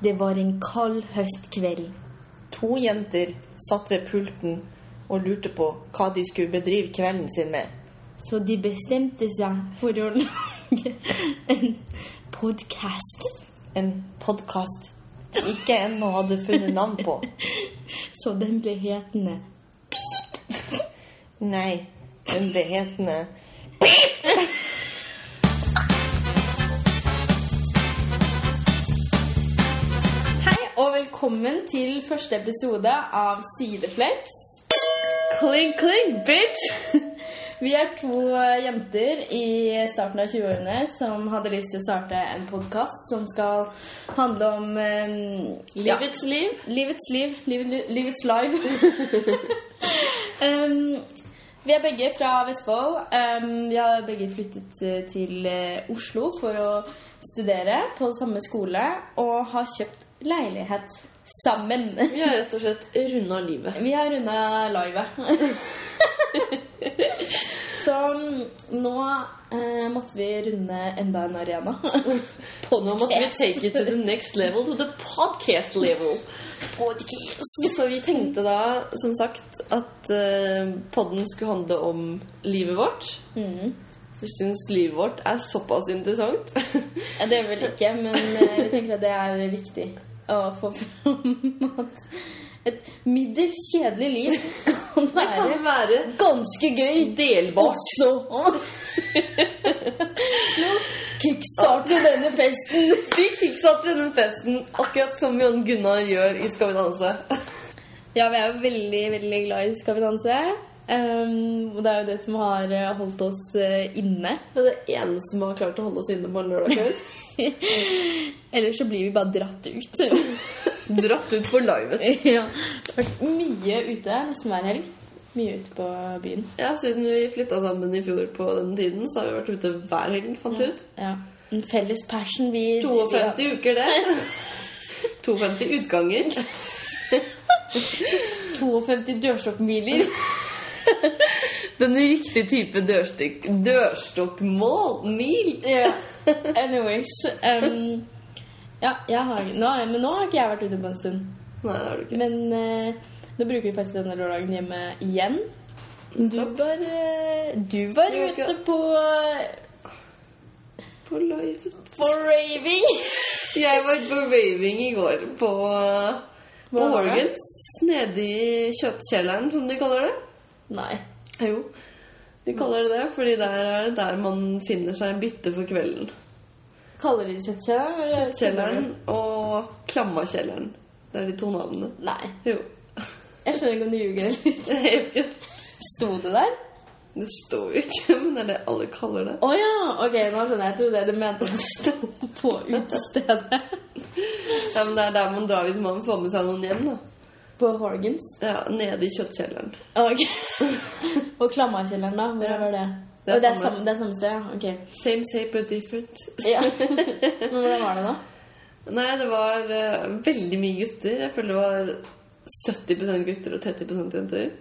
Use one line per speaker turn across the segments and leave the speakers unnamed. Det var en kald høstkveld.
To jenter satt ved pulten og lurte på hva de skulle bedrive kvelden sin med.
Så de bestemte seg for å lage en podkast
En podkast de ikke ennå hadde funnet navn på.
så den ble hetende
Nei, den ble hetende
Hei og velkommen til første episode av Sideflex.
Kling, kling, bitch!
Vi er to eh, jenter i starten av 20-årene som hadde lyst til å starte en podkast som skal handle om eh, ja,
Livets liv.
livets liv. Liv, li- livets live. um, vi er begge fra Vestfold. Um, vi har begge flyttet eh, til eh, Oslo for å studere på samme skole og har kjøpt leilighet sammen.
Vi har rett og slett runda livet.
Vi har runda livet. Så um, nå eh, måtte vi runde enda en arena.
Nå måtte vi take it to the next level, to the podcast level. Så vi tenkte da, som sagt, at eh, podden skulle handle om livet vårt.
Mm.
Vi syns livet vårt er såpass interessant.
Ja, Det er vel ikke, men eh, vi tenker at det er viktig å få fram at et middels kjedelig liv kan være
kan være
ganske gøy
delbart.
også. Nå kickstarter vi denne festen.
Vi kicksatte denne festen akkurat som Jon Gunnar gjør i Skal vi danse.
Ja, vi er jo veldig, veldig glad i Skal vi danse. Ehm, og det er jo det som har eh, holdt oss eh, inne.
Det er det eneste som har klart å holde oss inne på en lørdag kveld.
Ellers så blir vi bare dratt ut.
Dratt ut for livet.
ja. Vært mye ute nesten hver helg. Mye ute på byen.
Ja, Siden vi flytta sammen i fjor på den tiden, så har vi vært ute hver helg, fant vi ut.
Ja. En felles passion vi
52 uker, det. 52 utganger.
52 dørstokkmiler.
Den riktige type dørstokk... Dørstokkmål! Mil!
ja. Anyways. ehm, ja, jeg har, nå, har jeg- men nå har ikke jeg vært ute på en stund.
Nei, det har du ikke.
Men eh, nå bruker vi faktisk denne lørdagen hjemme igjen. Du
Nettopp.
var, eh, du var
Jo, ikke-
ute på eh,
På livet.
på raving.
Jeg var på raving i går på, på
Hva var det?
Morgans. Nede i kjøttkjelleren, som de kaller det.
Nei.
Ja, Jo, de kaller det det, fordi der er det der man finner seg bytte for kvelden.
Kaller de det kjøttkjelleren? eller
Kjøttkjelleren og Klammakjelleren. Det er de to navnene.
Nei.
Jo.
Jeg skjønner ikke om du ljuger eller ikke.
Det er jo ikke-
Sto det der?
det står jo ikke, men det er det alle kaller det.
Å ja! Ok, nå skjønner jeg. Jeg trodde du mente at det sto på utestedet.
Ja, men Det er der man drar hvis man får med seg noen hjem. da.
På Horgans.
Ja, Nede i kjøttkjelleren.
Ok. Og Klammakjelleren, da? Hvor
Ja.
var det?
Det er
Å, det, er
samme.
samme, det er samme sted, ja. Ok.
Same, same, but different.
Ja. Men hvordan var det, da?
Nei, det var eh, veldig mye gutter. Jeg føler det var 70 gutter og 30 jenter.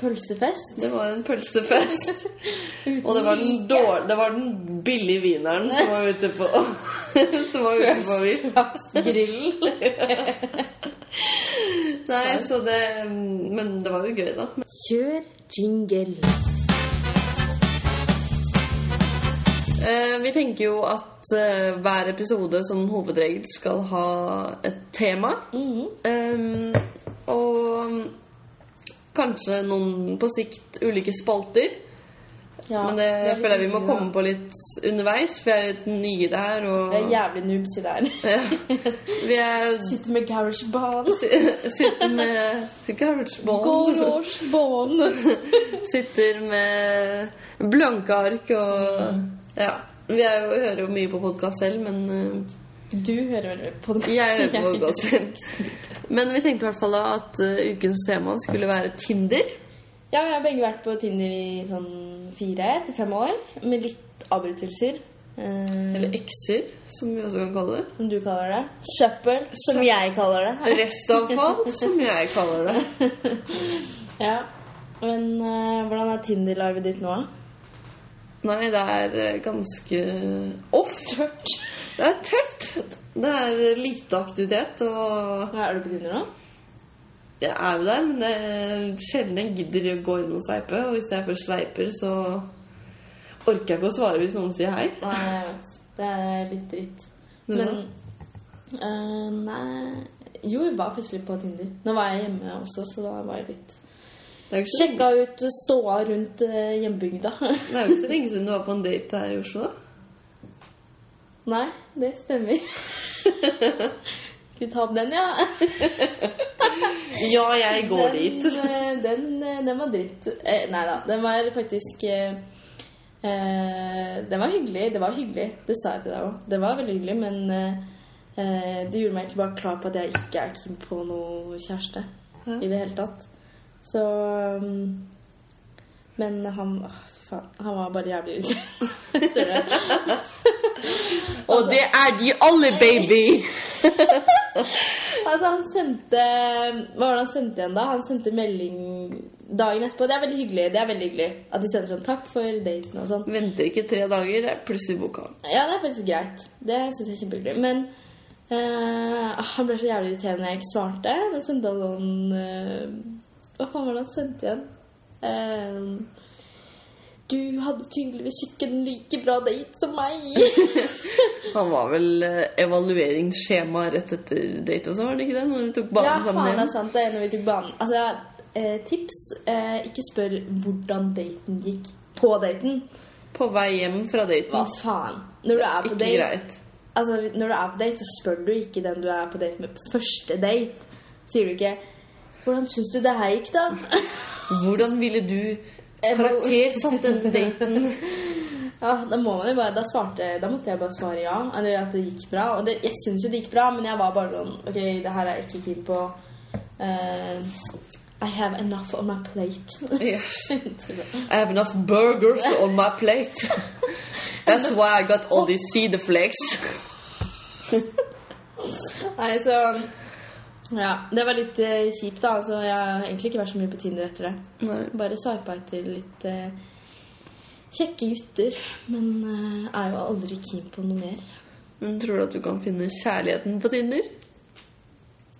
Pølsefest?
Det var en pølsefest.
Uten
Og det var den,
like.
dår, det var den billige wieneren som var ute på Som var ute på vill.
Grillen.
Nei, så det mm, Men det var jo gøy, da.
Kjør jingle.
Eh, Vi tenker jo at eh, hver episode som hovedregel skal ha et tema. Eh, Og mm, kanskje noen på sikt ulike spalter.
Ja,
Men det
er liksom litt
føler jeg vi må
usikre.
komme på litt underveis, for jeg er litt nye der. Og
Vi er jævlig noobs i det her.
vi er
Sitter med garagebånd.
Sitter med garagebånd.
Garagebånd.
Sitter med blanke ark og Ja. Vi er jo, hører jo mye på podkast selv, men
Du hører vel på
eh,
det?
jeg hører på podkast selv. Men vi tenkte i hvert fall da at eh, ukens tema skulle være Tinder.
Ja, vi har begge vært på Tinder i sånn fire til fem år. Med litt avbrytelser. eh,
Eller ekser, som vi også kan kalle det.
som du kaller det. Søppel, som jeg kaller det.
Restavfall, som jeg kaller det.
Ja. Men eh, hvordan er Tinder-livet ditt nå?
Nei, det er eh, ganske off.
Tørt.
Det er tørt. Det er lite aktivitet, og
Ja, er du på Tinder nå?
jeg er jo der, men det er sjelden jeg gidder å gå inn og sveipe. Og hvis jeg først sveiper, så orker jeg ikke å svare hvis noen sier hei.
Nei, jeg vet. Det er litt dritt. Men eh, Nei Jo, jeg var plutselig på Tinder. Nå var jeg hjemme også, så da var jeg litt
Det er jo ikke så,
Sjekka ut ståa rundt eh, hjembygda.
det er jo ikke så lenge siden du var på en date her i Oslo, da.
nei, det stemmer. Skal vi ta opp den, ja?
Ja, jeg går dit.
Den, eh, den, eh, den var dritt. Eh, nei da, den var faktisk eh, eh, Den var hyggelig. Det var hyggelig, det sa jeg til deg òg. Det var veldig hyggelig, men eh, eh, det gjorde meg egentlig bare klar på at jeg ikke er keen på noe kjæreste
Ja.
i det hele tatt. Så um, Men han åh, Fy faen. Han var bare jævlig irriterende. Tror jeg.
Og det er de alle, baby!
Altså, han sendte Hva var det han sendte igjen, da? Han sendte melding dagen etterpå. Det er veldig hyggelig. det er veldig hyggelig At de sender sånn 'takk for daten' og sånn.
Venter ikke tre dager, det er plutselig boka.
Ja, det er faktisk greit. Det syns jeg er kjempehyggelig. Men eh, han ble så jævlig irriterende når jeg ikke svarte. Da sendte han sånn eh, Hva faen var det han sendte igjen? Eh, du hadde tydeligvis ikke en like bra date som meg.
Han var vel eh, evalueringsskjema rett etter date også, var det ikke det? Når vi tok banen
ja,
sammen
faen, altså. det er
hjem.
sant. Det er når vi tok banen. Altså, eh, tips eh, Ikke spør hvordan daten gikk på daten.
På vei hjem fra
Hva
daten.
faen? Når du er på
Ikke
date,
greit.
altså, når du er på date, så spør du ikke den du er på date med på første date. Sier du ikke 'Hvordan syns du det her gikk, da?'
Hvordan ville du karaktersatt den daten?
Ja, da må man jo bare Da svarte Da måtte jeg bare svare ja. Eller at det gikk bra. Og det, jeg syns jo det gikk bra, men jeg var bare sånn OK, det her er jeg ikke keen på. Eh, I have enough on my plate.
Yes. I have enough burgers on my plate. That's why I got all these cedar flakes.
Nei, så Ja, det var litt eh, kjipt, da. Altså, jeg har egentlig ikke vært så mye på Tinder etter det.
Nei.
Bare sveipa etter litt eh, kjekke gutter. Men eh, er jo aldri keen på noe mer.
Men tror du at du kan finne kjærligheten på Tinder?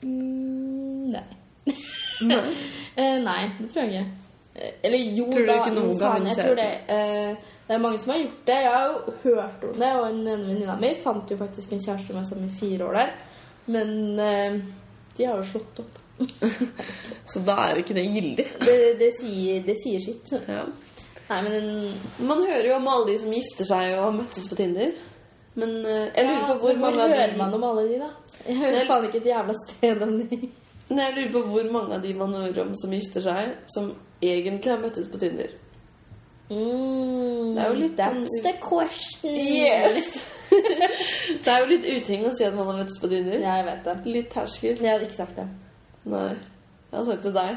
Mm, nei. Eh, nei, det tror jeg ikke. Eh, Eller jo,
Tror du
da.
ikke
jo,
noen kan
faen, jeg
se
tror det. Eh, det er mange som har gjort det. Jeg har jo hørt om det, og en en venninne av meg fant jo faktisk en kjæreste med sammen i fire år der. Men eh, de har jo slått opp.
Så da er ikke det gyldig.
Det, det, sier, det sier sitt.
Ja.
Nei, men
Man hører jo om alle de som gifter seg og har møttes på Tinder. Men eh, jeg lurer på hvor mange av
hører
de
man om alle de, da? Jeg
Nei.
hører faen ikke et jævla sted om de.
Nei, jeg lurer på hvor mange av de man hører om som gifter seg, som egentlig har møttes på Tinder. Det er jo litt
Mm, That's
sånn-
the question.
det er jo litt uting å si at man har møttes på Tinder.
Ja, jeg vet det.
Litt terskel.
Jeg hadde ikke sagt det.
Nei. Jeg har sagt til deg.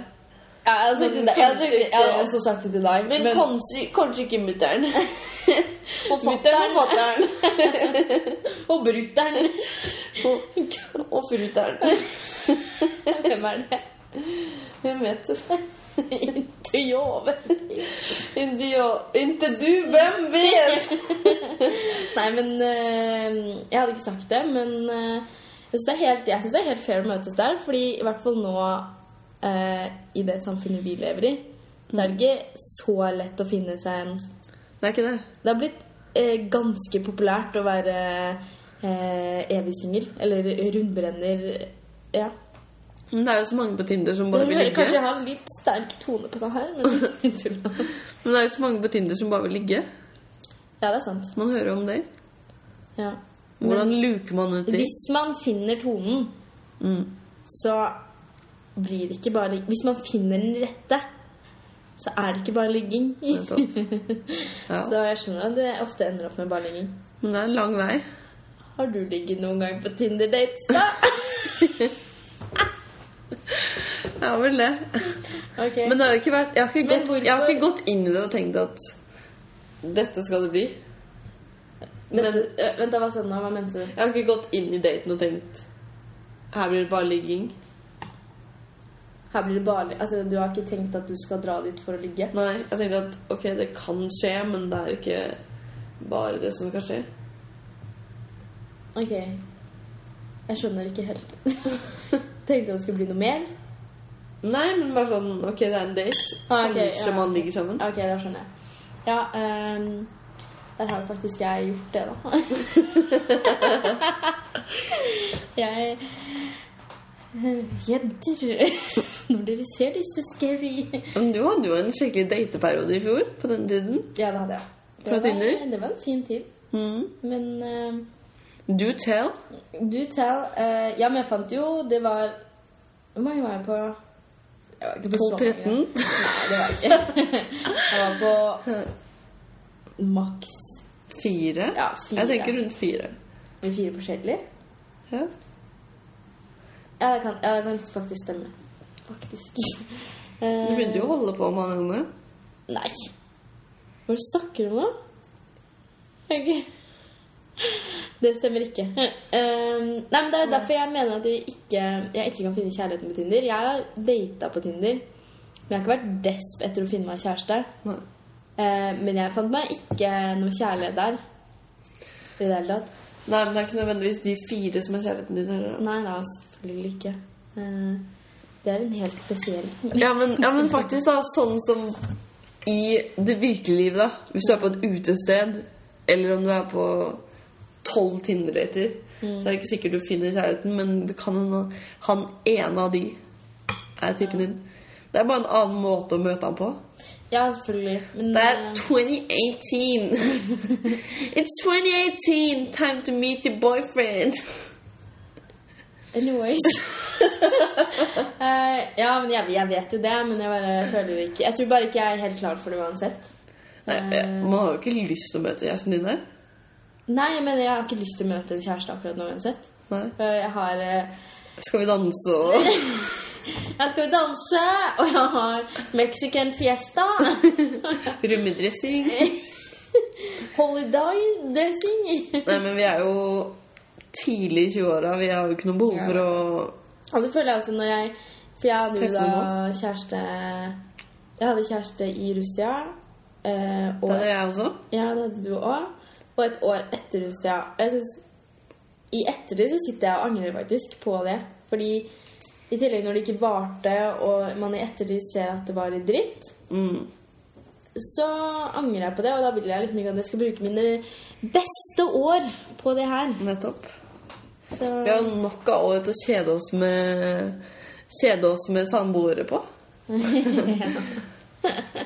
Ja, jeg, hadde sagt
Men
det. Jeg, hadde,
kanskje ikke-
jeg hadde også sagt det til deg.
Men, kanskje, kanskje ikke mutter'n. Mutter'n og
Forfatteren
fatter'n.
og bruteren
Og, og frutter'n.
Hvem er det?
Hvem vet?
Ikke jove.
Indio- Inte du, hvem vet?
Nei, men eh, Jeg hadde ikke sagt det, men eh, jeg syns det, er helt- jeg synes det er helt fair å møtes der. Fordi i hvert fall nå, eh, i det samfunnet vi lever i, så er det ikke så lett å finne seg en
Det er ikke det.
Det har blitt eh, ganske populært å være eh, evig singel. Eller rundbrenner. Ja.
Men det er jo så mange på Tinder som
Jeg
bare vil
hører
ligge.
kanskje jeg har en litt sterk tone på det her, men tuller.
Men det er jo så mange på Tinder som bare vil ligge.
Ja, det er sant.
Man hører jo om det.
Ja.
Hvordan luker man ut de?
Hvis man finner tonen,
Mm.
så blir det ikke bare ligging. Hvis man finner den rette, så er det ikke bare ligging.
Nettopp. Ja.
Så jeg skjønner at det ofte ender opp med bare ligging.
Men det er en lang vei.
Har du ligget noen gang på Tinder-dates, da?
Ja, vel det.
Ok.
Men det har jo ikke vært, jeg, har ikke
Men
gått, jeg har
hvorfor-
ikke gått inn i det og tenkt at dette skal det bli. Men
Vent, øh, vent da, hva sa du nå? Hva mente du?
jeg har ikke gått inn i daten og tenkt her blir det bare ligging.
Her blir det bare Altså, du har ikke tenkt at du skal dra dit for å ligge?
Nei, jeg tenkte at ok, det kan skje, men det er ikke bare det som kan skje.
Ok. Jeg skjønner ikke helt. Tenkte det skulle bli noe mer.
Nei, men bare sånn OK, det er en date.
Ah, ok,
Kanskje
ja.
man ligger sammen.
Ok, da skjønner jeg. Ja, ehm, der har faktisk jeg gjort det, da. jeg eh, Jenter, når dere ser disse scary
Men du hadde jo en skikkelig dateperiode i fjor på den tiden.
Ja, det hadde jeg. Det
Fra
var-
Tinder?
Det var en fin tid. Mm. Men ehm,
Do tell.
Du tell eh, Ja, men jeg fant jo Det var Hvor mange var jeg på? Jeg var ikke på så mange.
12-13.
Nei, det var jeg ikke. Jeg var på maks
Fire.
Ja, fire.
Jeg tenker rundt fire.
med fire forskjellige.
Ja.
Ja, det kan, ja, det kan faktisk stemme. Faktisk.
Du
Eh.
begynte jo å holde på med henne.
Nei. Hva snakker du om nå? Ok. Det stemmer ikke. Ehm, nei, men Det er jo derfor jeg mener at vi ikke, jeg ikke kan finne kjærligheten på Tinder. Jeg har data på Tinder, men jeg har ikke vært desp etter å finne meg kjæreste.
Nei.
Eh, men jeg fant meg ikke noe kjærlighet der. I det hele tatt.
Nei, men det er ikke nødvendigvis de fire som er kjærligheten din heller. da.
Nei, nei, selvfølgelig ikke. Eh, det er en helt spesiell
Ja men, ja, men faktisk da, sånn som i det virkelige livet, da. Hvis du er på et utested, eller om du er på tolv Tinder-dater, så er det ikke sikkert du finner kjærligheten, men det kan hende han ene av de er typen din. Det er bare en annen måte å møte han på.
Ja, selvfølgelig. Men
Det er
eh,
2018. It's 2018. Time to meet your boyfriend.
Anyways. Eh, ja, men jeg, jeg vet jo det, men jeg bare føler ikke Jeg tror bare ikke jeg er helt klar for det uansett.
Nei, eh, man har jo ikke lyst til å møte kjæresten din der.
Nei, men jeg har ikke lyst til å møte en kjæreste akkurat nå uansett.
Nei.
For Jeg har eh,
Skal vi danse og
Jeg skal jo danse, og jeg har Mexican fiesta.
rummedressing?
Holiday dressing.
Nei, men vi er jo tidlig i 20-åra. Vi har jo ikke noe behov for å
Og så føler jeg også når jeg For jeg hadde jo
Treffer
da
du
kjæreste Jeg hadde kjæreste i Rustia. eh, og
Det er det jeg også.
Ja, det hadde du òg. Og et år etter huset, ja. Jeg synes, I ettertid så sitter jeg og angrer faktisk på det. Fordi i tillegg når det ikke varte, og man i ettertid ser at det var litt dritt,
Mm.
så angrer jeg på det. Og da vil jeg liksom ikke at jeg skal bruke mine beste år på det her.
Nettopp.
Så
Vi har jo nok av år til å kjede oss med Kjede oss med samboere på.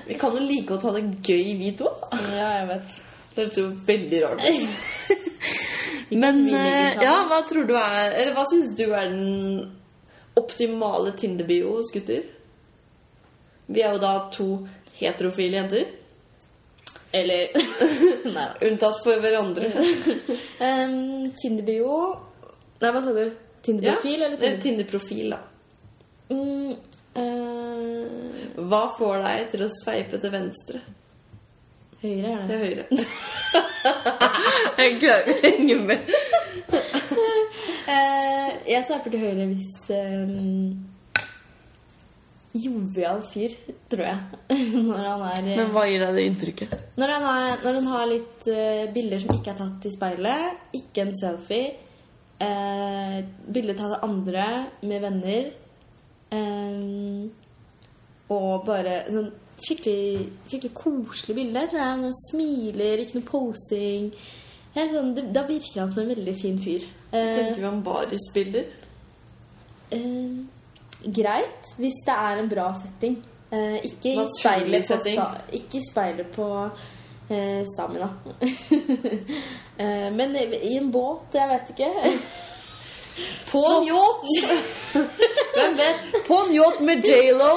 vi kan jo like godt ha det gøy, vi to.
ja, jeg vet.
Det hørtes jo veldig rart ut. Men
vi ligger
eh,
sammen.
ja, hva tror du er Eller hva syns du er den optimale Tinder-bio hos gutter? Vi er jo da to heterofile jenter.
Eller Nei da.
Unntatt for hverandre.
Um, Tinderbio Nei, hva sa du? Tinderprofil eller
Eller
Tinder?
Tinder-profil, da.
Mm, eh,
Hva får deg til å sveipe til venstre?
høyre, er det.
Det er høyre. jeg klarer ikke å henge med.
Eh, jeg sveiper til høyre hvis eh, Jovial fyr, tror jeg. når, han er, eh,
Men hva gir deg det inntrykket?
når, han er, når han har litt eh, bilder som ikke er tatt i speilet, ikke en selfie, uh, bilder tatt av andre med venner eh, Og bare sånn skikkelig, skikkelig koselig bilde, tror jeg. Han smiler, ikke noe posing. Helt sånn, det, da virker han som en veldig fin fyr. Eh,
Tenker vi om barisbilder?
Eh, greit, hvis det er en bra setting. Eh, ikke, i
Naturlig
speilet på
setting.
sta ikke i speilet på eh, stamina. eh, men i en båt, jeg vet ikke.
På en yacht! Hvem vet? På en yacht med J.Lo.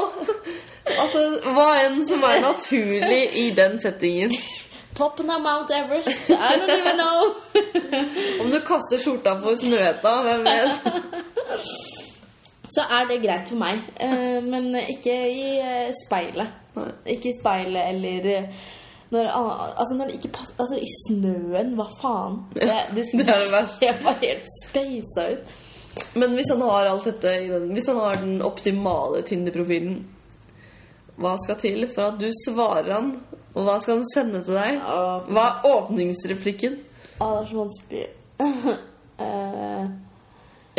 Altså, hva enn som er naturlig i den settingen.
Toppen av Mount Everest, I don't even know.
Om du kaster skjorta på Snøhetta, hvem vet?
Så er det greit for meg, eh, men ikke i eh, speilet.
Nei.
Ikke i speilet eller eh, når, an- altså når det ikke passer Altså, i snøen, hva faen? Det,
Det er det verste.
Jeg var helt speisa ut.
Men hvis han har alt dette i den, Hvis han har den optimale Tinder-profilen Hva skal til for at du svarer han? Og hva skal han sende til deg?
Åh,
Hva
Ah,
er åpningsreplikken?
Å, det er så vanskelig. Eh,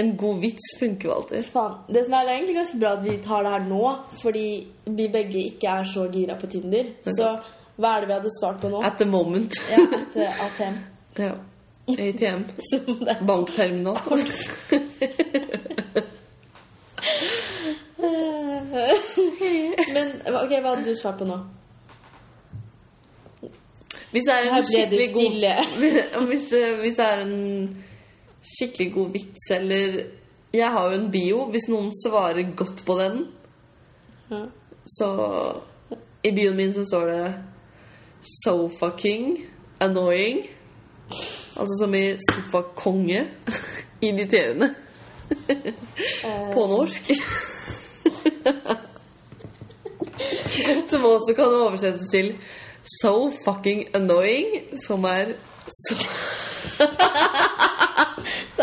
En god vits funker jo alltid.
Faen. Det som er, det er egentlig ganske bra at vi tar det her nå, fordi vi begge ikke er så gira på Tinder. Så hva er det vi hadde svart på nå?
At the moment.
Ja, et eh, ATM.
Ja. ATM.
Som det.
Bankterminal.
Men ok, hva hadde du svart på nå?
Hvis det er en
Her ble det
skikkelig god
stille.
hvis det, hvis det er en skikkelig god vits eller Jeg har jo en bio. Hvis noen svarer godt på den,
Ja.
så I bioen min så står det So fucking annoying. Altså som i sofakonge. Irriterende.
Eh,
På norsk. som også kan oversettes til So fucking annoying, som er så
Da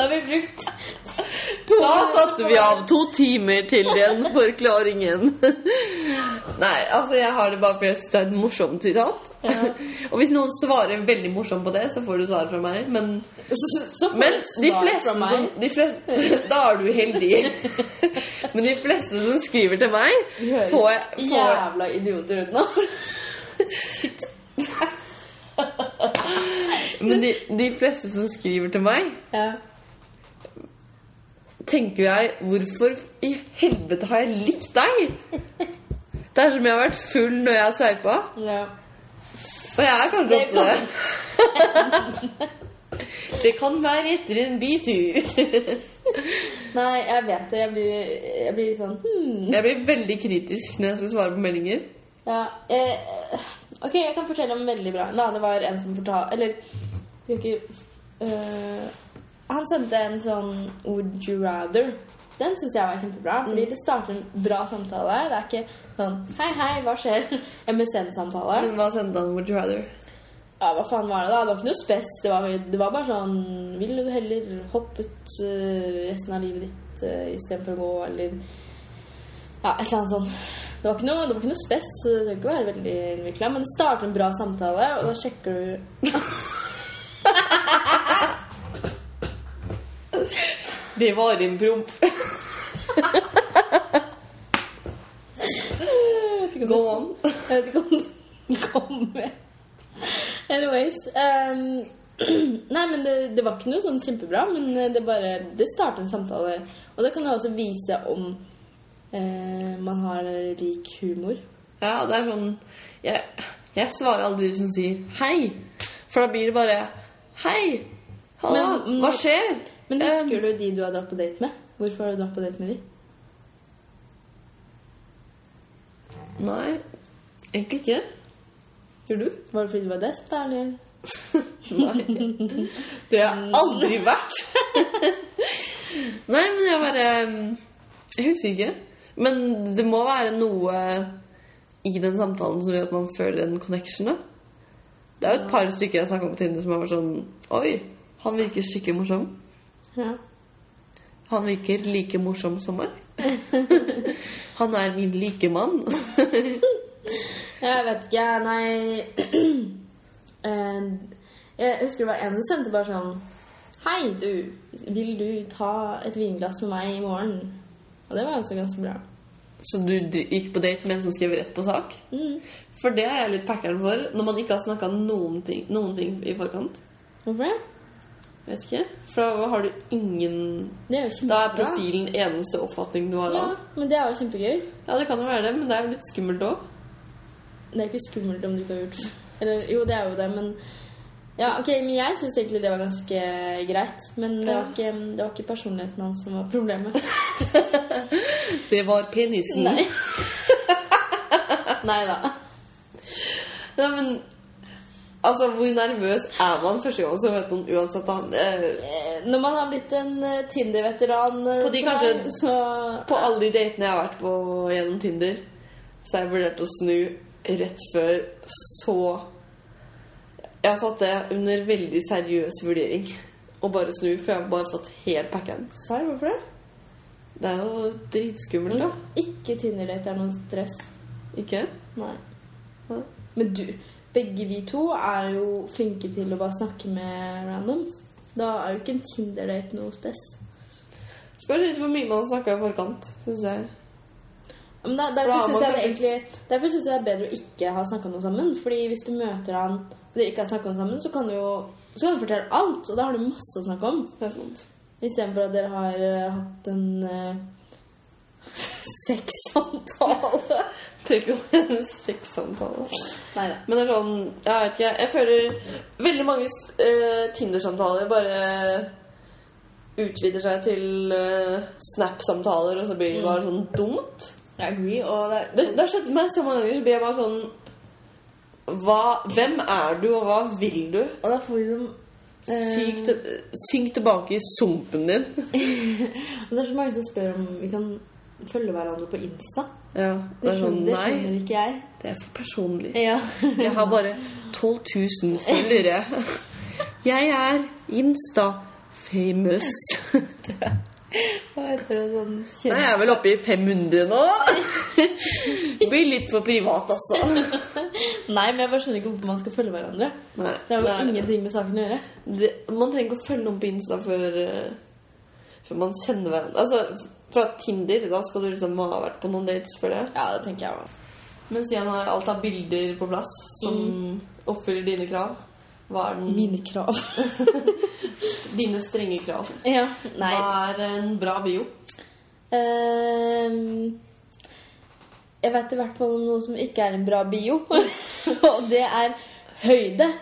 har vi brukt
Da satte vi av to timer til den forklaringen. Nei, altså jeg har det bare fordi jeg synes det er et morsomt sitat. Og hvis noen svarer veldig morsomt på det, så får du svar fra meg. Men,
så får
men
du et
de
svar
fleste
fra meg.
som de fleste, Da er du heldig. Men de fleste som skriver til meg,
Vi høres
får jeg får,
jævla idioter ut nå.
Men de, de fleste som skriver til meg,
Ja.
tenker jeg Hvorfor i helvete har jeg likt deg? Det er som jeg har vært full når jeg har sveipa.
ja.
Og jeg er kanskje
Det
ofte det. Det kan være etter en bytur.
Nei, jeg vet det. Jeg blir, jeg blir litt sånn hmm.
Jeg blir veldig kritisk når jeg skal svare på meldinger.
Ja. Eh, ok, jeg kan fortelle om veldig bra. Nei, det var en som fortalte Eller skal ikke øh, Han sendte en sånn Would you rather? Den syns jeg var kjempebra, fordi det starter en bra samtale. Det er ikke sånn Hei, hei, hva skjer? MSN-samtale.
Men hva sendte han? Would you rather?
Ja, hva faen var det da? Det var ikke noe spes. Det var, det var bare sånn Vil du heller hoppe ut øh, resten av livet ditt uh, istedenfor å gå, eller Ja, et eller annet sånn. Det var ikke noe, det var ikke noe spes, så det trenger ikke være veldig innvikla. Men det starter en bra samtale, og da sjekker du
Det var en promp.
Jeg vet ikke om
Go
det-
on.
Jeg vet ikke om det kommer. Anyways. ehm, nei, men det, det var ikke noe sånn kjempebra, men det bare Det starter en samtale. Og det kan jo også vise om eh, man har lik humor.
Ja, det er sånn Jeg, jeg svarer alle de som sier hei. For da blir det bare hei. Halla,
Men-
hva skjer?
Men
Um,
husker du de du har dratt på date med? Hvorfor har du dratt på date med de?
Nei, egentlig ikke. Gjør du?
Var det fordi du var desp, da, eller?
Nei. Det har jeg aldri vært. Mm. Nei, men jeg bare um, Jeg husker ikke. Men det må være noe i den samtalen som gjør at man føler en connection. da. Det er jo et par stykker jeg snakka om på Tinder som har vært sånn Oi, han virker skikkelig morsom.
Ja.
Han virker like morsom som meg. Han er min likemann.
Jeg vet ikke, nei Eh, Jeg husker det var en som sendte bare sånn Hei, du. Vil du ta et vinglass med meg i morgen? Og det var også ganske bra.
Så du d- gikk på date med en som skrev rett på sak?
Mm.
For det er jeg litt packeren for når man ikke har snakka noen, ting- noen ting i forkant.
Hvorfor det?
Vet ikke. For da har du ingen
Det er jo
Da er
kjempebra.
profilen eneste oppfatning du har
Ja,
av.
men det er jo kjempegøy.
Ja, det kan jo være det, men det er jo litt skummelt òg.
Det er ikke skummelt om du ikke har gjort Eller jo, det er jo det, men Ja, ok, men jeg syns egentlig det var ganske greit. Men det var ikke, det var ikke personligheten hans som var problemet.
Det var penisen.
Nei. Nei da.
Nei, men Altså, hvor nervøs er man første gang som møter noen uansett? Han, eh,
Eh, Når man har blitt en eh, Tinder-veteran eh,
På de
som
kanskje-
meg, så
på alle de datene jeg har vært på gjennom Tinder, så har jeg vurdert å snu rett før så Jeg har satt det under veldig seriøs vurdering. Å bare snu, for jeg har bare fått helt packeren.
Svar, hvorfor det?
Det er jo dritskummelt, da.
Ikke Tinder-date er noe stress.
Ikke?
Nei.
Hæ?
Men du, begge vi to er jo flinke til å bare snakke med randoms. Da er jo ikke en Tinder-date noe spes.
Spørs litt hvor mye man snakka i forkant, syns jeg.
Men da,
da
derfor
har
syns
man
jeg, det
kanskje-
egentlig- derfor synes jeg det er bedre å ikke ha snakka noe sammen. Fordi hvis du møter han og dere ikke har snakka noe sammen, så kan du jo så kan du fortelle alt. Og da har du masse å snakke om.
Det er sant.
Istedenfor at dere har eh, hatt en uh, sexsamtale.
Tenk om en sexsamtale.
Nei da.
Men det er sånn Jeg vet ikke. Jeg føler veldig mange eh, Tinder-samtaler bare utvider seg til eh, Snap-samtaler, og så blir det bare sånn dumt.
Jeg agree. Og det,
Det, det har skjedd meg så mange ganger, så blir jeg bare sånn hva, Hvem er du, og hva vil du?
og da får vi sånn
Syk, til- synk tilbake i sumpen din.
Og det er så mange som spør om vi kan følge hverandre på Insta.
Ja, det er sånn
skjønner, det
Nei,
skjønner ikke jeg.
det er for personlig.
Ja.
Jeg har bare 12 000 følgere. Jeg er Insta-famous.
Hva heter det sånn
Nei,
kjent?
jeg er vel oppe i 500 nå. Blir litt for privat, altså.
Nei, men jeg bare skjønner ikke hvorfor man skal følge hverandre.
Nei,
Det har jo
nei.
ingenting med saken å gjøre.
det, man trenger ikke å følge noen på Insta før, eh, før man kjenner hverandre. Altså, fra Tinder, da skal du liksom ha vært på noen dates, føler jeg.
Ja, det tenker jeg også.
Men siden har alt har bilder på plass som oppfyller dine krav, hva er den,
Mine krav.
dine strenge krav?
ja, nei.
Hva er en bra bio?
Ehm, jeg vet i hvert fall om noe som ikke er en bra bio, og det er høyde.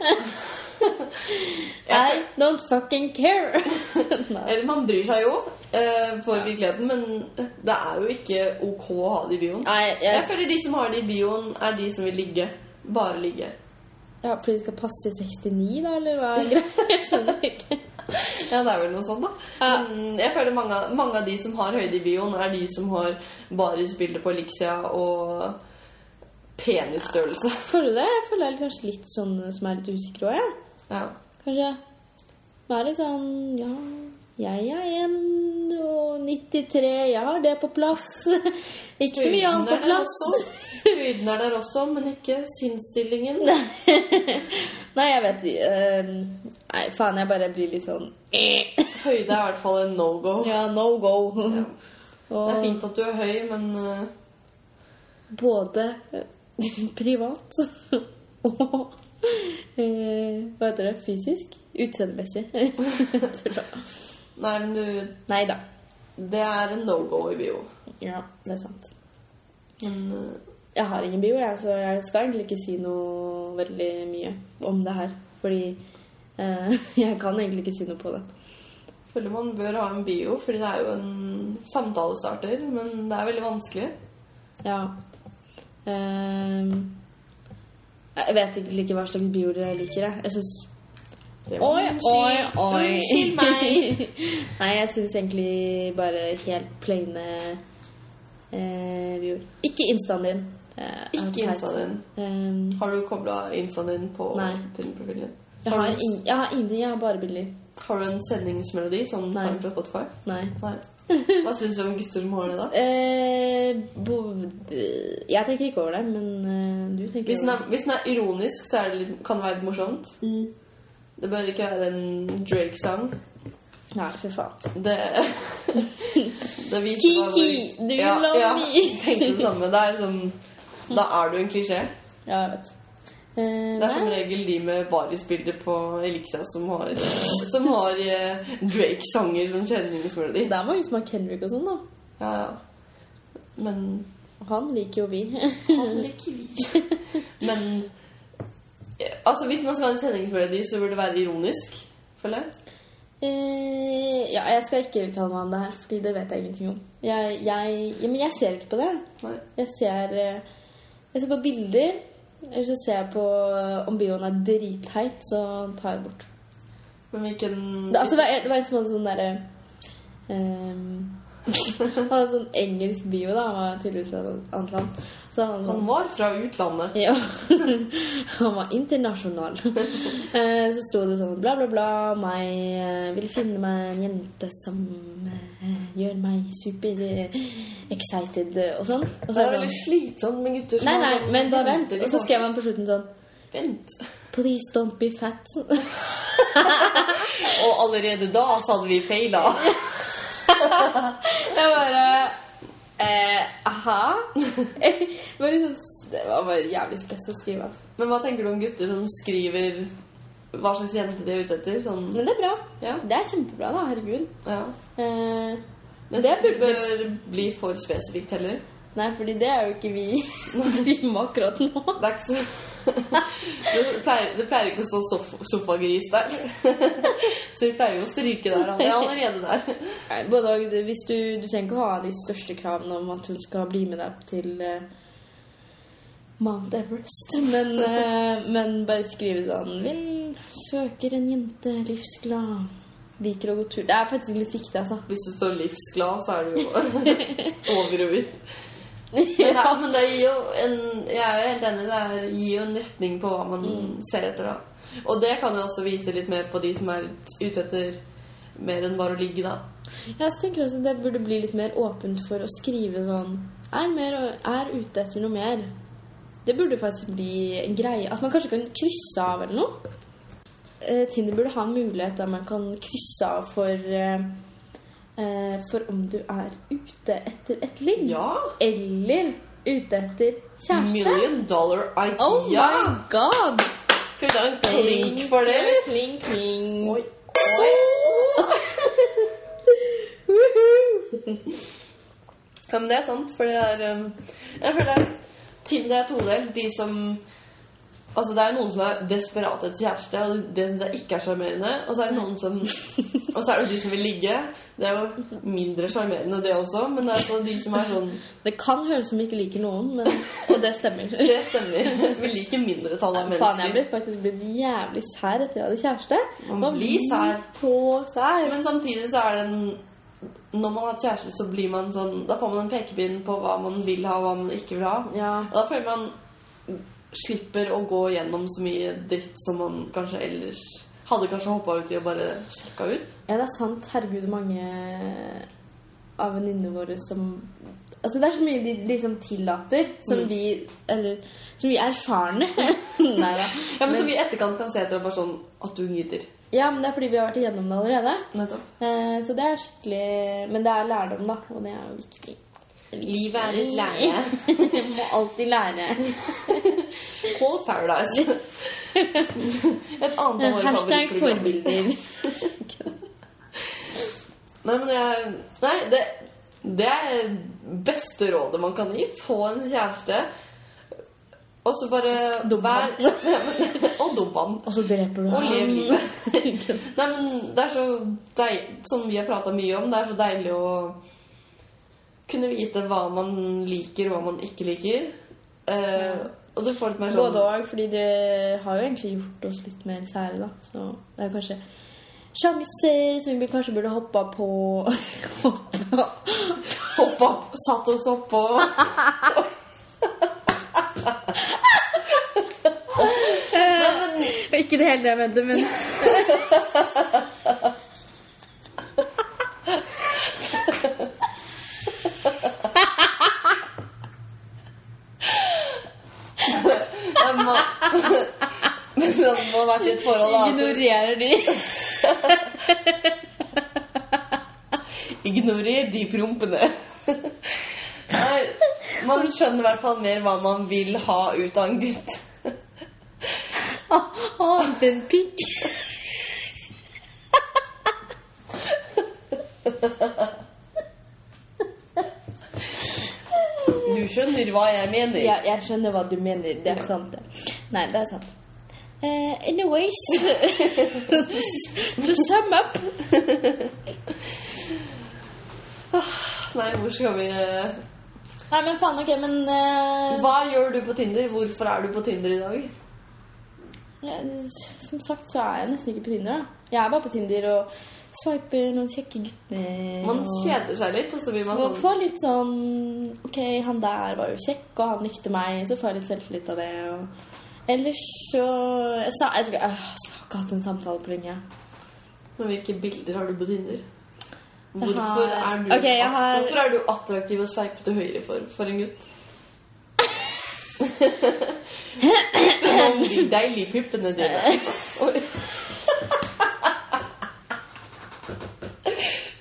I don't fucking care. nei.
Eller man bryr seg jo eh, for virkeligheten, men det er jo ikke ok å ha det i bioen.
nei,
Jeg
jeg,
føler de som har det i bioen, er de som vil ligge. Bare ligge.
ja, fordi det skal passe i 69, da, eller hva er greia? Jeg skjønner ikke.
Ja, det er vel noe sånt, da.
Ja.
Men jeg føler mange, av- mange av de som har høyde i bioen, er de som har bare spillet på Elixia og penisstørrelse.
Føler du det? Jeg føler jeg er kanskje litt sånn som er litt usikker òg, jeg.
Ja.
Kanskje være litt sånn Ja, jeg er 1 og 93, jeg har det på plass. Ikke så mye annet på plass.
Høyden er der også, men ikke sinnsstillingen.
Nei, jeg vet ikke. eh, Nei, faen, jeg bare blir litt sånn eh.
Høyde er i hvert fall en no go.
Ja, no go.
Det er
Og
fint at du er høy, men eh,
både eh, privat og eh, Hva heter det? Fysisk? Utseendemessig.
Nei, men du
Nei da.
Det er en no go i bio.
Ja, det er sant.
Men eh,
Jeg har ingen bio, jeg, så jeg skal egentlig ikke si noe veldig mye om det her. Fordi eh, jeg kan egentlig ikke si noe på det.
jeg føler man bør ha en bio, fordi det er jo en samtalestarter. Men det er veldig vanskelig.
Ja. Ehm, jeg vet egentlig ikke hva slags bioer jeg liker. Jeg, jeg syns
Det-
Oi, oi, oi!
Unnskyld meg!
Nei, jeg syns egentlig bare helt plaine eh, bioer. Ikke instaen din. Det er
Ikke
teit.
instaen din.
Ehm,
Har du kobla instaen din på
Nei.
til profilen?
jeg,
Har
har
du-
ing- jeg har ingenting. Jeg har bare bilder.
Har du en sendingsmelodi, sånn
Nei.
sang fra Spotify?
Nei.
Nei. Hva syns du om gutter som har det, da?
Eh, bo, eh, jeg tenker ikke over det, men eh, du tenker
Hvis den
over
er, hvis den er ironisk, så er det litt, kan det være litt morsomt.
Mm.
Det bør ikke være en Drake-sang.
det. Nei, fy faen.
Det, det viser bare hvor-
Kiki, do you love me?
tenkte det samme. Det er sånn, da er du en klisjé.
Ja, jeg vet. Eh,
Det er som
nei.
regel de med barisbilder på Elixia som har, som har eh, Drake-sanger som kjenningsmelodi.
det er mange som har Kendrick og sånn, da.
Ja, ja. Men
Og han liker jo vi.
han liker vi. Men eh, altså, hvis man skal ha en kjenningsmelodi, så burde det være ironisk, føler jeg.
eh, ja, jeg skal ikke uttale meg om det her, Fordi det vet jeg ingenting om. Jeg, jeg, ja, men jeg ser ikke på det.
Nei.
Jeg ser, eh, jeg ser på bilder, eller så ser jeg på eh, om bioen er dritteit, så tar jeg bort.
Men hvilken
Det, altså, det, var, det var en som hadde sånn derre ehm, Han hadde sånn engelsk bio, da. Han var tydeligvis fra et annet land. Så han,
Han
han,
var fra utlandet.
ja, han var internasjonal. Eh, så sto det sånn bla, bla, bla. Meg eh, vil finne meg en jente som eh, gjør meg super eh, excited eh, og sånn. Og
Det
så
er
er det
veldig
sånn
slitsomt med gutter som
Nei, nei,
har sånn-
men bare vent. Og så skrev
liksom.
han på slutten sånn
Vent.
Please don't be fat.
Og allerede da så hadde vi feila.
Jeg bare eh, Aha. Det var, liksom, det var bare jævlig stress å skrive. Altså.
Men hva tenker du om gutter som skriver hva slags jente de er ute etter? Sånn,
Men det er bra.
ja,
Det er kjempebra, da. Herregud.
ja.
Eh,
Men
Det
det
burde-
bør bli for spesifikt heller.
nei, fordi det er jo ikke vi driver med akkurat nå.
Det er ikke så det, pleier, det pleier ikke å stå sof sofagris der. Så vi pleier jo å stryke der. Han er allerede der.
Nei, både og, du- hvis du, du trenger ikke å ha de største kravene om at hun skal bli med deg til eh, Mount Everest. Men, eh, men bare skrive sånn Vil søker en jente livsglad. Liker å gå tur. Det er faktisk litt viktig, altså.
Hvis du står livsglad, så er du jo over og ut. Men, ja, men det gir jo en Jeg er jo helt enig. Det er, gir jo en retning på hva man ser etter. da Og det kan jo også vise litt mer på de som er ute etter mer enn bare å ligge, da.
Jeg tenker også Det burde bli litt mer åpent for å skrive sånn er, mer, er ute etter noe mer. Det burde faktisk bli en greie. At man kanskje kan krysse av eller noe. Eh, Tinder burde ha en mulighet der man kan krysse av for eh, eh, For om du er ute etter et ligg.
Ja!
Eller ute etter kjæreste.
Million dollar idea!
Oh my god!
Skal vi ta en klink for det, eller?
Kling, kling.
Oi, oi. Ja, men det er sant, for det er um, Jeg føler det er- Tinder er todelt. De som Altså, det er noen som er desperate etter kjæreste, og det syns jeg ikke er sjarmerende. Og så er det noen som Og så er det de som vil ligge. Det er jo mindre sjarmerende, det også, men det er altså de som er sånn
Det kan høres ut som vi ikke liker noen, men, og det stemmer.
Det stemmer. Vi liker mindretallet av
Faen, jeg
mennesker.
ble faktisk blitt jævlig sær etter jeg hadde kjæreste.
Man blir sær.
så sær.
Men samtidig så er det en Når man har kjæreste, så blir man sånn Da får man en pekepinn på hva man vil ha, og hva man ikke vil ha.
Ja.
Og da føler man slipper å gå gjennom så mye dritt som man kanskje ellers hadde kanskje hoppa ut i og bare sjekka ut.
ja, det er sant. Herregud, mange av venninnene våre som Altså, det er så mye de liksom tillater, som
Mm.
vi Eller som vi er erfarne. Nei da.
Ja, men, Så vi i etterkant kan se etter og bare sånn at du gidder.
Ja, men det er fordi vi har vært igjennom det allerede.
Nettopp.
Eh, så det er skikkelig Men det er lærdom, da, og det er jo viktig.
Livet er et lære.
Må alltid lære.
Call Paradise. Et annet av våre
Hashtag
favorittprogram.
forbilder.
Nei, men jeg Nei, det, det er beste rådet man kan gi. Få en kjæreste, og så bare
Dump han.
vær- Ja, men- Og dump han.
Og så dreper du
Og lev livet.
livet.
Nei, men det er så deil, Som vi har prata mye om, det er så deilig å kunne vite hva man liker, og hva man ikke liker. Eh, og du får litt mer sånn
Både òg, fordi det har jo egentlig gjort oss litt mer sære, da. Så det er kanskje sjanser som vi kanskje burde hoppa på Hoppa
Hopp opp! Satt oss oppå. Nei, men
Ikke det hele det jeg mente, men
nei, man, men sånn, man har vært i et forhold, da. Altså,
ignorerer de.
ignorer de prompene. Nei, man skjønner i hvert fall mer hva man vil ha ut av en gutt.
Å, annet enn pikk.
Du skjønner hva jeg mener.
Ja, jeg skjønner hva du mener. Det er
Ja.
sant, det. Nei, det er sant. Eh, anyways To sum up
Nei, hvor skal vi eh,
Nei, men faen, OK, men eh,
Hva gjør du på Tinder? Hvorfor er du på Tinder i dag?
Ja, Som sagt så er jeg nesten ikke på Tinder. da Jeg er bare på Tinder og swiper noen kjekke gutter.
Man
og-
kjeder seg litt, og så blir man
og
sånn
får litt sånn OK, han der var jo kjekk, og han likte meg. Så får jeg litt selvtillit av det. Og ellers så Jeg snak- jeg skulle jeg har ikke hatt en samtale på lenge.
Men hvilke bilder har du på Tinder? Hvorfor
har-
er du,
Ok, jeg har-
hvorfor er du attraktiv og sveip til høyre for, for en gutt? Utenom de deilige puppene dine. Oi.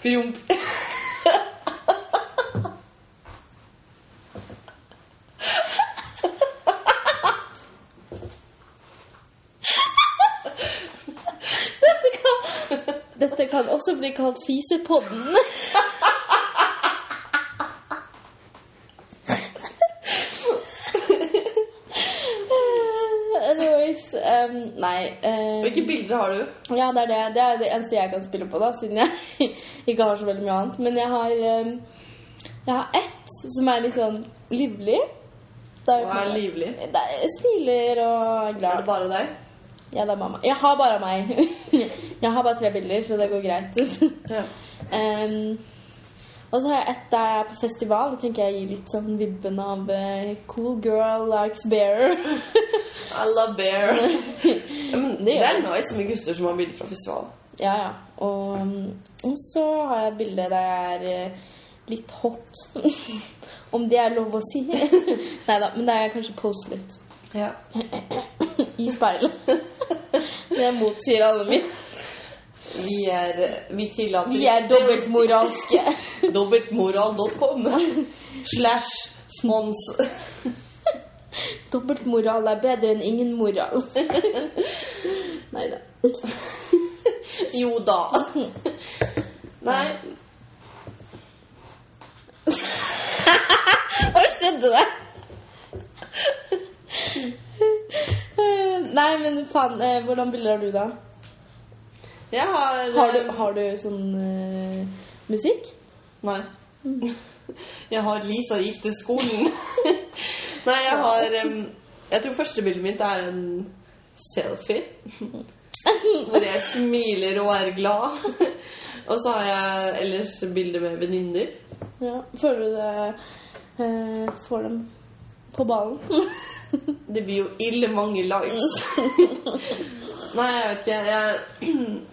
Promp.
Dere kan også bli kalt Fisepodden. Anyways um, Nei. eh,
Hvilke bilder har du?
ja, det er det. Det er det eneste jeg kan spille på, da, siden jeg ikke har så veldig mye annet. Men jeg har, ehm, jeg har ett som er litt sånn livlig. Det
Og er livlig.
Det er, smiler og er
Er det
glad.
bare deg?
Ja, det er mamma. Jeg har bare meg. jeg har bare tre bilder, så det går greit.
Ja.
Ehm, og så har jeg ett der jeg er på festival. Det tenker jeg gir litt sånn vibben av eh, Cool girl likes bear.
I love bear. ja, men det,
gjør
er nice med gutter som har bilder fra festival.
Ja, ja. Og, og så har jeg et bilde der jeg er eh, litt hot. Om det er lov å si. Nei da, men det er kanskje pose litt
Ja.
i speilet. Det motsier alle mine.
Vi er Vi tillater
Vi er dobbeltmoralske.
Dobbeltmoral.com slash spons.
Dobbeltmoral er bedre enn ingen moral. Nei da.
Jo da. Nei.
Hva skjedde der? Nei, men faen, eh, hvordan bilder har du, da?
Jeg har eh,
Har du, har du sånn eh, musikk?
Nei. Jeg har Lisa gikk til skolen. Nei, jeg har em, Jeg tror første bildet mitt er en selfie. Hvor jeg smiler og er glad. Og så har jeg ellers bilder med venninner.
Ja, Føler du det eh, får dem på ballen?
Det blir jo ille mange likes. Nei, jeg vet ikke. Jeg,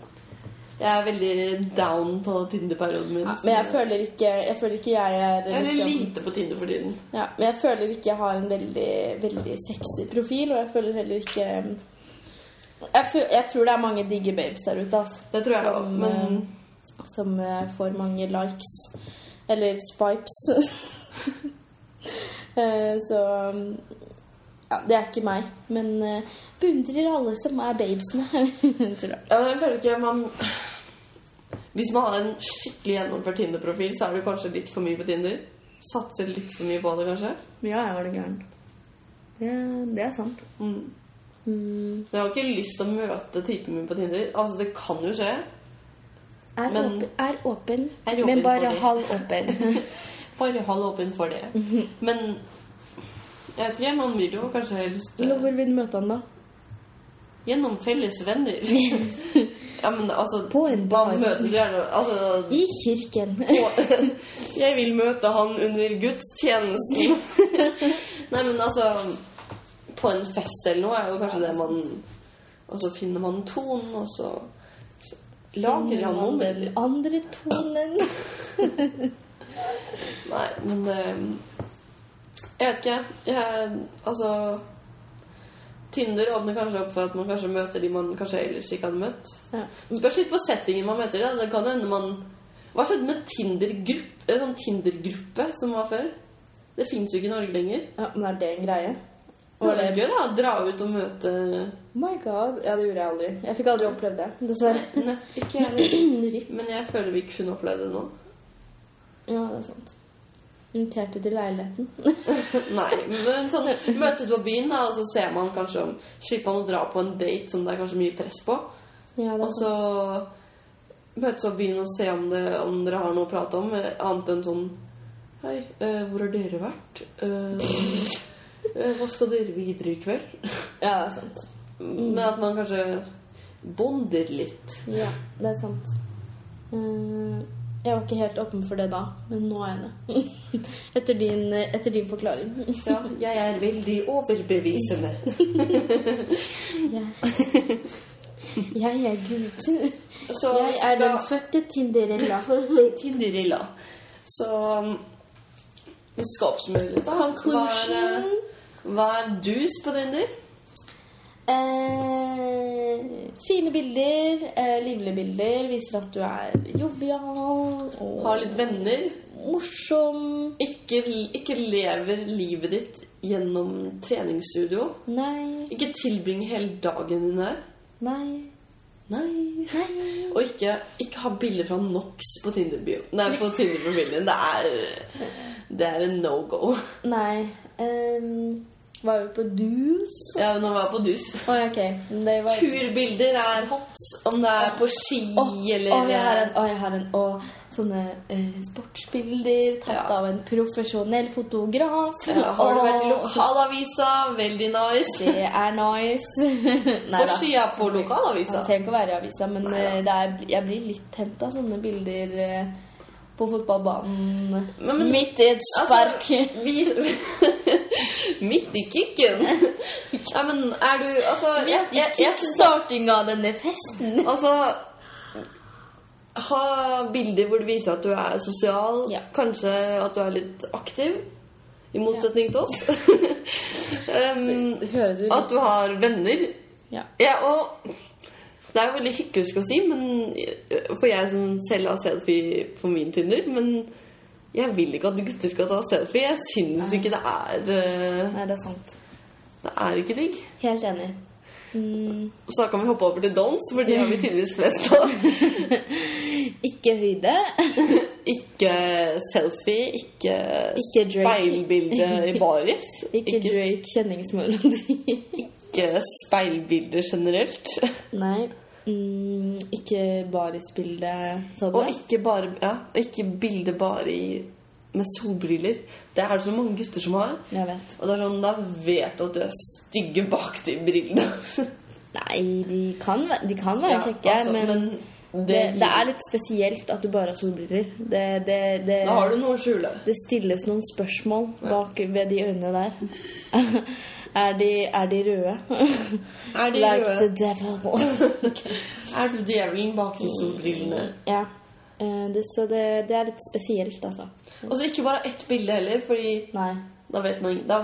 jeg er veldig down på Tinder-perioden min.
Men jeg føler ikke jeg, føler ikke jeg er
jeg er veldig
liksom,
lite på Tinder for tiden.
ja, Men jeg føler ikke jeg har en veldig, veldig sexy profil, og jeg føler heller ikke um, jeg, fø- jeg tror det er mange digge babes der ute altså,
Det tror jeg òg,
Som,
men
som eh, får mange likes. Eller spipes. Eh, så um, ja, det er ikke meg. Men eh, beundrer alle som er babesene. tror jeg.
Ja, men jeg føler ikke man Hvis man har en skikkelig gjennomført Tinder-profil, så er du kanskje litt for mye på Tinder. Satser litt for mye på det, kanskje.
Ja, jeg var det gæren. Det, det er sant.
Mm.
Mm.
Men jeg har ikke lyst til å møte typen min på Tinder. Altså, Det kan jo skje.
Er,
Men-
åpen, er åpen,
Er åpen
men
for
bare
det.
halv åpen.
Bare hold åpen for det.
Mhm.
Men jeg vet ikke, man vil jo kanskje helst eh,
Nå, Hvor vil du møte han, da?
gjennom felles venner. ja, men altså
På en bar.
Man møtes jo gjerne Altså,
I kirken.
jeg vil møte han under gudstjenesten. Nei, men altså På en fest eller noe er jo kanskje det man Og så finner man tonen, og så så lager han noe med
Den andre tonen.
Nei, men eh, Jeg vet ikke. Jeg, altså Tinder åpner kanskje opp for at man kanskje møter de man kanskje ellers ikke hadde møtt.
Ja.
Spørs litt på settingen man møter. Da. Det kan hende man Hva skjedde med Tinder-gruppe eh, sånn Tinder-gruppe som var før? Det fins jo ikke i Norge lenger.
ja, men er det en greie? Var
Det var
det
gøy da, å dra ut og møte
My god. Ja, det gjorde jeg aldri. Jeg fikk aldri opplevd det, dessverre.
Nei, ikke jeg heller.
Ripp.
Men jeg føler vi kunne opplevd det nå.
Ja, det er sant. Inviterte til leiligheten.
Nei, men sånn møtes på byen, da, og så ser man kanskje om Slipper man å dra på en date som det er kanskje mye press på.
Ja, det
Og
er sant.
så møtes og begynne å se om, det, om dere har noe å prate om, eh, annet enn sånn Hei, eh, hvor har dere vært? Eh, eh, hva skal dere videre i kveld?
Ja, det er sant. Mm.
Men at man kanskje bonder litt.
Ja, det er sant. Eh, Jeg var ikke helt åpen for det da, men nå er jeg det. Etter din, etter din forklaring.
Ja, jeg er veldig overbevisende.
Jeg, jeg er Gud.
Så
Jeg er den
skal-
fødte Tinderella.
Tinderilla. Så um, vi skal oppsummere litt, da. Hva er,
Conclusion.
eh, hva er dus på Tinder?
Eh, fine bilder, eh, livlige bilder, viser at du er jovial og
Har litt venner.
morsom.
Ikke, ikke lever livet ditt gjennom treningsstudio.
Nei,
Ikke tilbringe hele dagen din her.
nei.
Nei. Og ikke, ikke ha bilder fra NOx på Tinder-bioen. Nei, på Tinder-familien. Det er Det er en no go.
Nei. ehm, var jo på dus.
Ja, men når man er på dus
Oi, ok. Men Det var
Turbilder er hot. Om det er på ski
Åh,
eller eh,
åh, jeg har en, åh, jeg har en åh, sånne eh, sportsbilder tatt
Ja.
av en profesjonell fotograf.
ja, eh, Har du
Åh,
vært i lokalavisa? Veldig nice.
Det er nice. Nei
På
da.
skia på lokalavisa.
Det trenger ikke å være i avisa, men eh, det er, jeg blir litt hent av sånne bilder eh, på fotballbanen.
Men- men-
Midt i et spark.
Altså, vi Midt i kicken. Ja, men er du Altså, jeg, jeg, jeg
Startinga av denne festen.
Altså Ha bilder hvor du viser at du er sosial.
Ja.
Kanskje at du er litt aktiv. I motsetning til oss. um,
Høres ut
at du har venner.
Ja.
Ja, og det er jo veldig hyklersk å si, men for jeg som selv har selfie på min Tinder Men jeg vil ikke at gutter skal ta selfie. Jeg syns ikke det er eh,
Nei, det er sant.
Det er ikke digg.
Helt enig. Mm,
Så da kan vi hoppe over til dons, for de har vi tydeligvis flest av.
ikke høyde.
Ikke selfie, ikke,
Ikke Drake.
speilbilde i baris.
Ikke Drake kjenningsmelodi.
ikke speilbilder generelt.
Nei. Mm, ikke barisbilde. sa du
Og
det?
ikke, bare, ja, og ikke bilde bare i, med solbriller. Det er det så mange gutter som har.
Jeg vet.
Og det er sånn, Da vet du at du er stygge bak de brillene.
Nei, de kan, væ- de kan være
Ja,
kjekke,
altså,
men,
men
det, det er litt spesielt at du bare har solbriller. Det, det, det,
Da har du noe å skjule.
det stilles noen spørsmål bak ved de øynene der. er, de, er de røde?
Er de
like
røde?
the devil.
Er du djevelen bak
Mm.
de solbrillene?
ja. Eh, Det, så det, det er litt spesielt, altså.
Og så ikke bare ett bilde heller, Fordi
Nei.
da vet man ikke da,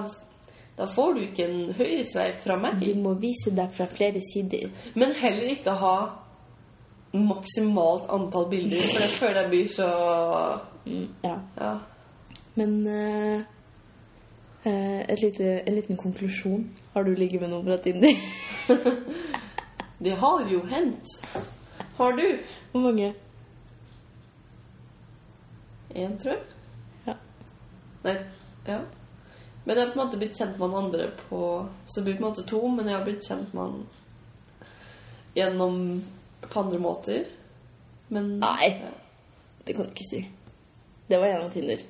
da får du ikke en høyresveip fra meg.
Du må vise deg fra flere sider.
Men heller ikke ha maksimalt antall bilder, for jeg føler jeg blir så
Ja.
Ja.
Men eh, eh, et lite, en liten konklusjon. Har du ligget med noen fra Tinder?
Det har jo hendt. Har du?
Hvor mange?
Én, tror jeg.
Ja.
Nei, ja. Men jeg har på en måte blitt kjent med han andre på Så det blir på en måte to, men jeg har blitt kjent med han gjennom på andre måter. Men
Nei.
Ja.
Det kan du ikke si. Det var gjennom Tinder.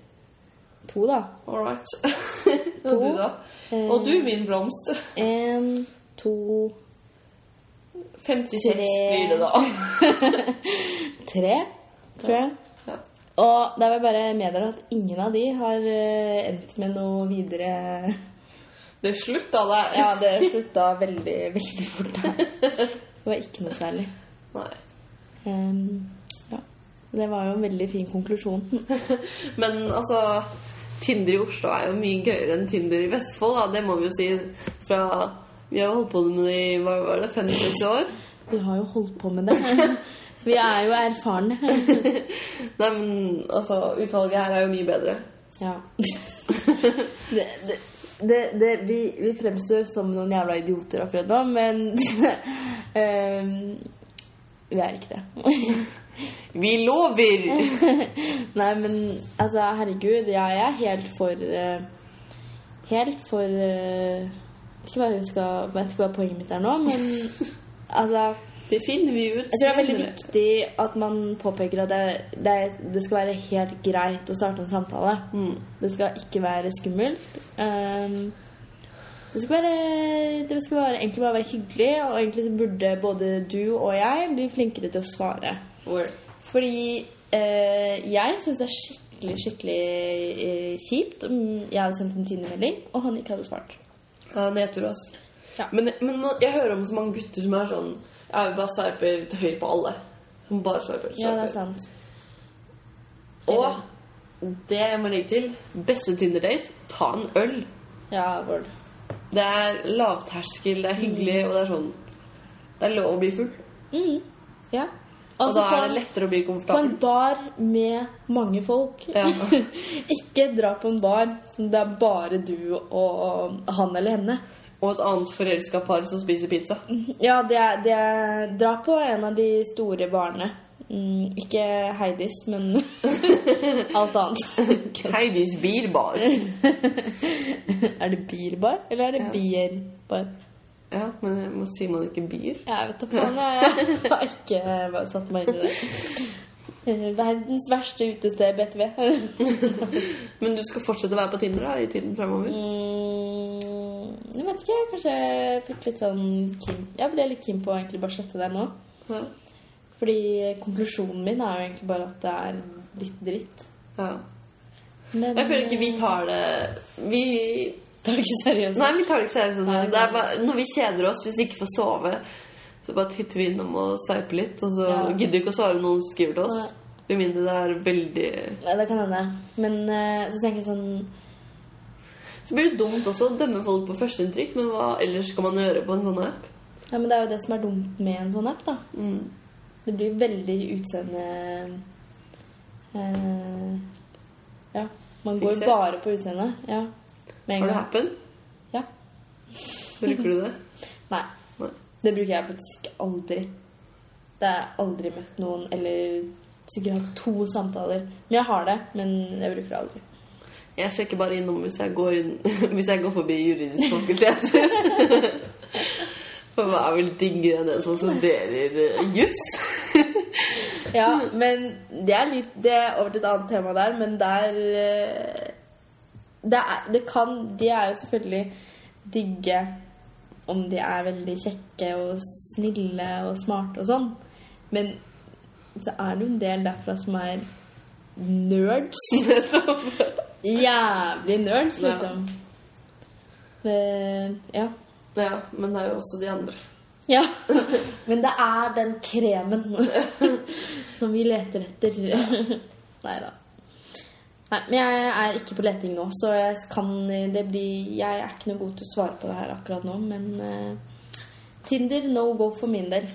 To, da.
All right. Og du, da? Og du, min blomst.
Én, to,
56
Tre.
blir det, da.
tre, tror jeg.
Ja.
Og det er vel bare med dere at ingen av de har eh, endt med noe videre
Det er slutt, da. Det er
Ja, det slutta veldig, veldig fort. Da. Det var ikke noe særlig.
Nei.
Ehm, ja. Det var jo en veldig fin konklusjon.
Men altså Tinder i Oslo er jo mye gøyere enn Tinder i Vestfold, da. Det må vi jo si. Fra Vi har holdt på med det i hva var det, 5-6 år.
Vi har jo holdt på med det. Vi er jo erfarne.
Nei, men altså Utvalget her er jo mye bedre.
Ja. Det, det, det, det, vi, vi fremstår som noen jævla idioter akkurat nå, men ehm, Vi er ikke det.
Vi lover!
Nei, men altså, herregud, ja, jeg er helt for eh, Helt for eh, Vet ikke hva jeg skal, vet ikke hva poenget mitt er nå, men altså
Det finner vi ut.
Jeg tror det er veldig viktig at man påpeker at det, det, det skal være helt greit å starte en samtale.
Mm.
Det skal ikke være skummelt. Ehm, det skal, være, det skal være, egentlig bare være hyggelig, og egentlig så burde både du og jeg bli flinkere til å svare.
Word.
Fordi eh, jeg syns det er skikkelig, skikkelig eh, kjipt om jeg hadde sendt en Tinder-melding, og han ikke hadde svart.
Ja, nedtur, ass.
Ja.
Men, men man- jeg hører om så mange gutter som er sånn Ja, vi bare sveiper til høyre på alle. Som bare sveiper.
Ja, det er
sveiper.
sant.
Og det jeg må legge til Beste Tinder-date ta en øl.
Ja, Bård.
Det er lavterskel, det er hyggelig,
Mm.
og det er sånn Det er lov å bli full.
Mhm. Ja.
Og
Altså,
da
på
er det
en-
lettere å bli
På en
komfortabel.
bar med mange folk.
Ja.
ikke dra på en bar som det er bare du og han eller henne.
og et annet forelska par som spiser pizza.
Ja, det er, det er Dra på en av de store barene. Mm, ikke Heidis, men alt annet.
Heidis bilbar.
er det bilbar, eller er det
Ja.
bierbar?
Ja, men jeg må sier man ikke bier?
Jeg vet da faen. Jeg jeg har ikke bare satt meg inn i det. Eh, Verdens verste utested, BTV.
Men du skal fortsette å være på Tinder da, i tiden fremover?
Mm, jeg vet ikke. Kanskje jeg fikk litt sånn kim. Jeg ble litt keen på å egentlig bare slette det nå.
Ja.
Fordi konklusjonen min er jo egentlig bare at det er litt dritt.
ja.
Men eh,
Jeg føler ikke vi tar det Vi
tar det ikke seriøst.
Nei, vi tar det ikke seriøst.
Nei,
Det er bare, når vi kjeder oss, hvis vi ikke får sove, så bare titter vi innom og sveiper litt, og så
Ja.
gidder vi ikke å svare når noen skriver til oss. Med mindre det er veldig
Ja, det kan hende. Men eh, så tenker jeg sånn
Så blir det dumt også å dømme folk på førsteinntrykk, men hva ellers skal man gjøre på en sånn app?
Ja, men det er jo det som er dumt med en sånn app, da.
Mm.
Det blir veldig utseende eh, Ja. Man går
Fiksert.
bare på utseendet. Ja. Med en
Har det
gang.
happen?
Ja.
Bruker du det?
Nei.
Nei.
Det bruker jeg faktisk aldri. Det er aldri møtt noen, eller sikkert hatt to samtaler. Men jeg har det, men jeg bruker det aldri.
Jeg sjekker bare innom hvis jeg går, inn, hvis jeg går forbi juridisk fakultet. For hva er vel diggere enn den som studerer eh, juss?
Ja, men det er litt det er over til et annet tema der, men der eh, det er, det kan, De er jo selvfølgelig digge om de er veldig kjekke og snille og smarte og sånn, men så er det jo en del derfra som er nerds. Jævlig nerds,
Ja.
liksom. Eh, ja.
Ja, men det er jo også de andre.
Ja, men det er den kremen som vi leter etter. Nei da. Nei, men jeg er ikke på leting nå, så jeg kan det blir Jeg er ikke noe god til å svare på det her akkurat nå, men eh, Tinder no go for min del.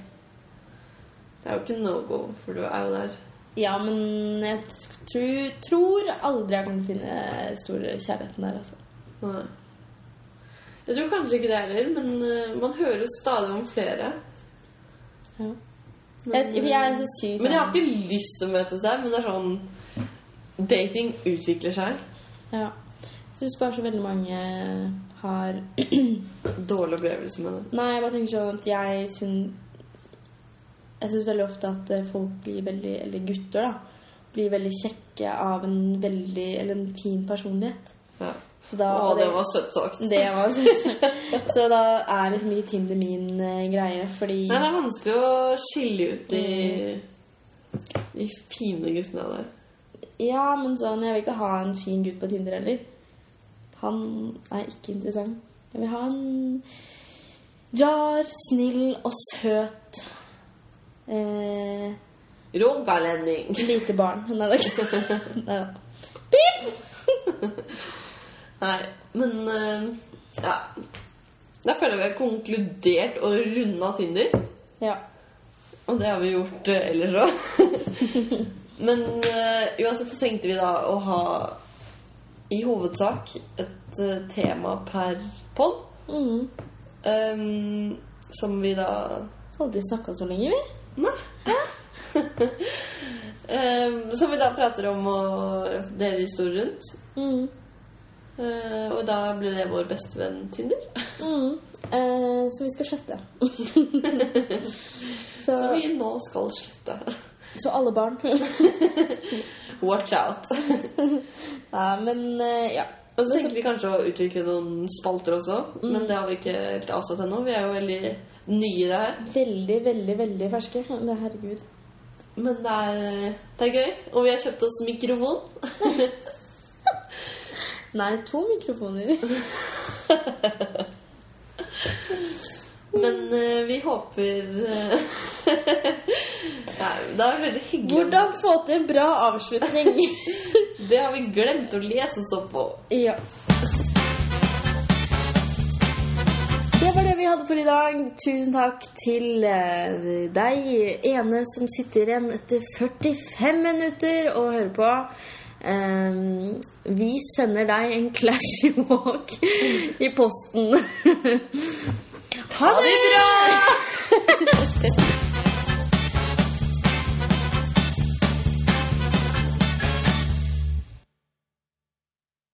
Det er jo ikke no go, for du er jo der.
Ja, men jeg tror, tror aldri jeg kan finne store kjærligheten der, altså.
Nei. Jeg tror kanskje ikke det heller, men eh, man hører jo stadig om flere.
Ja.
Men,
Jeg, jeg er så syk
men jeg har ikke lyst til å møtes der, men det er sånn Dating utvikler seg.
sånn. ja. Syns bare så veldig mange har
Dårlig opplevelse med det.
Nei, jeg bare tenker sånn at jeg syns Jeg syns veldig ofte at eh, folk blir veldig Eller gutter, da. Blir veldig kjekke av en veldig Eller en fin personlighet.
Ja.
Så da
Å, det var søtt sagt.
det var søtt. Så da er liksom ikke Tinder min eh, greie, fordi
Nei, det er vanskelig å skille ut de, de fine guttene der.
Ja, men sånn Jeg vil ikke ha en fin gutt på Tinder heller. Han er ikke interessant. Jeg vil ha en rar, snill og søt eh,
Rogalending!
Lite barn. Nei, det er ikke Nei, da.
Nei, men eh, ja. Da føler jeg vi har konkludert og runda Tinder.
Ja.
Og det har vi gjort eh, ellers òg. men eh, uansett så tenkte vi da å ha i hovedsak et eh, tema per pod.
Mm.
ehm, som vi da
Aldri snakka så lenge, vi.
Nei. Ehm, som vi da prater om og deler historier rundt.
Mm.
Eh, og da blir det vår bestevenn Tinder.
Mm. Eh, som vi skal slette. så,
Som vi nå skal slutte.
så alle barn.
Watch out.
Nei, men eh, ja.
Og så tenkte vi kanskje å utvikle noen spalter også, men det har vi ikke helt avsatt ennå. Vi er jo veldig nye i det her.
Veldig, veldig, veldig ferske. Det, herregud.
Men det er, det er gøy. Og vi har kjøpt oss mikrofon.
Nei, to mikrofoner.
Men eh, vi håper eh, Nei, det er veldig hyggelig.
Hvordan få til en bra avslutning?
Det har vi glemt å lese oss opp på.
ja. Det var det vi hadde for i dag. Tusen takk til eh, deg, ene som sitter igjen etter 45 minutter og hører på. Ehm, vi sender deg en classy walk i posten.
Ha det bra!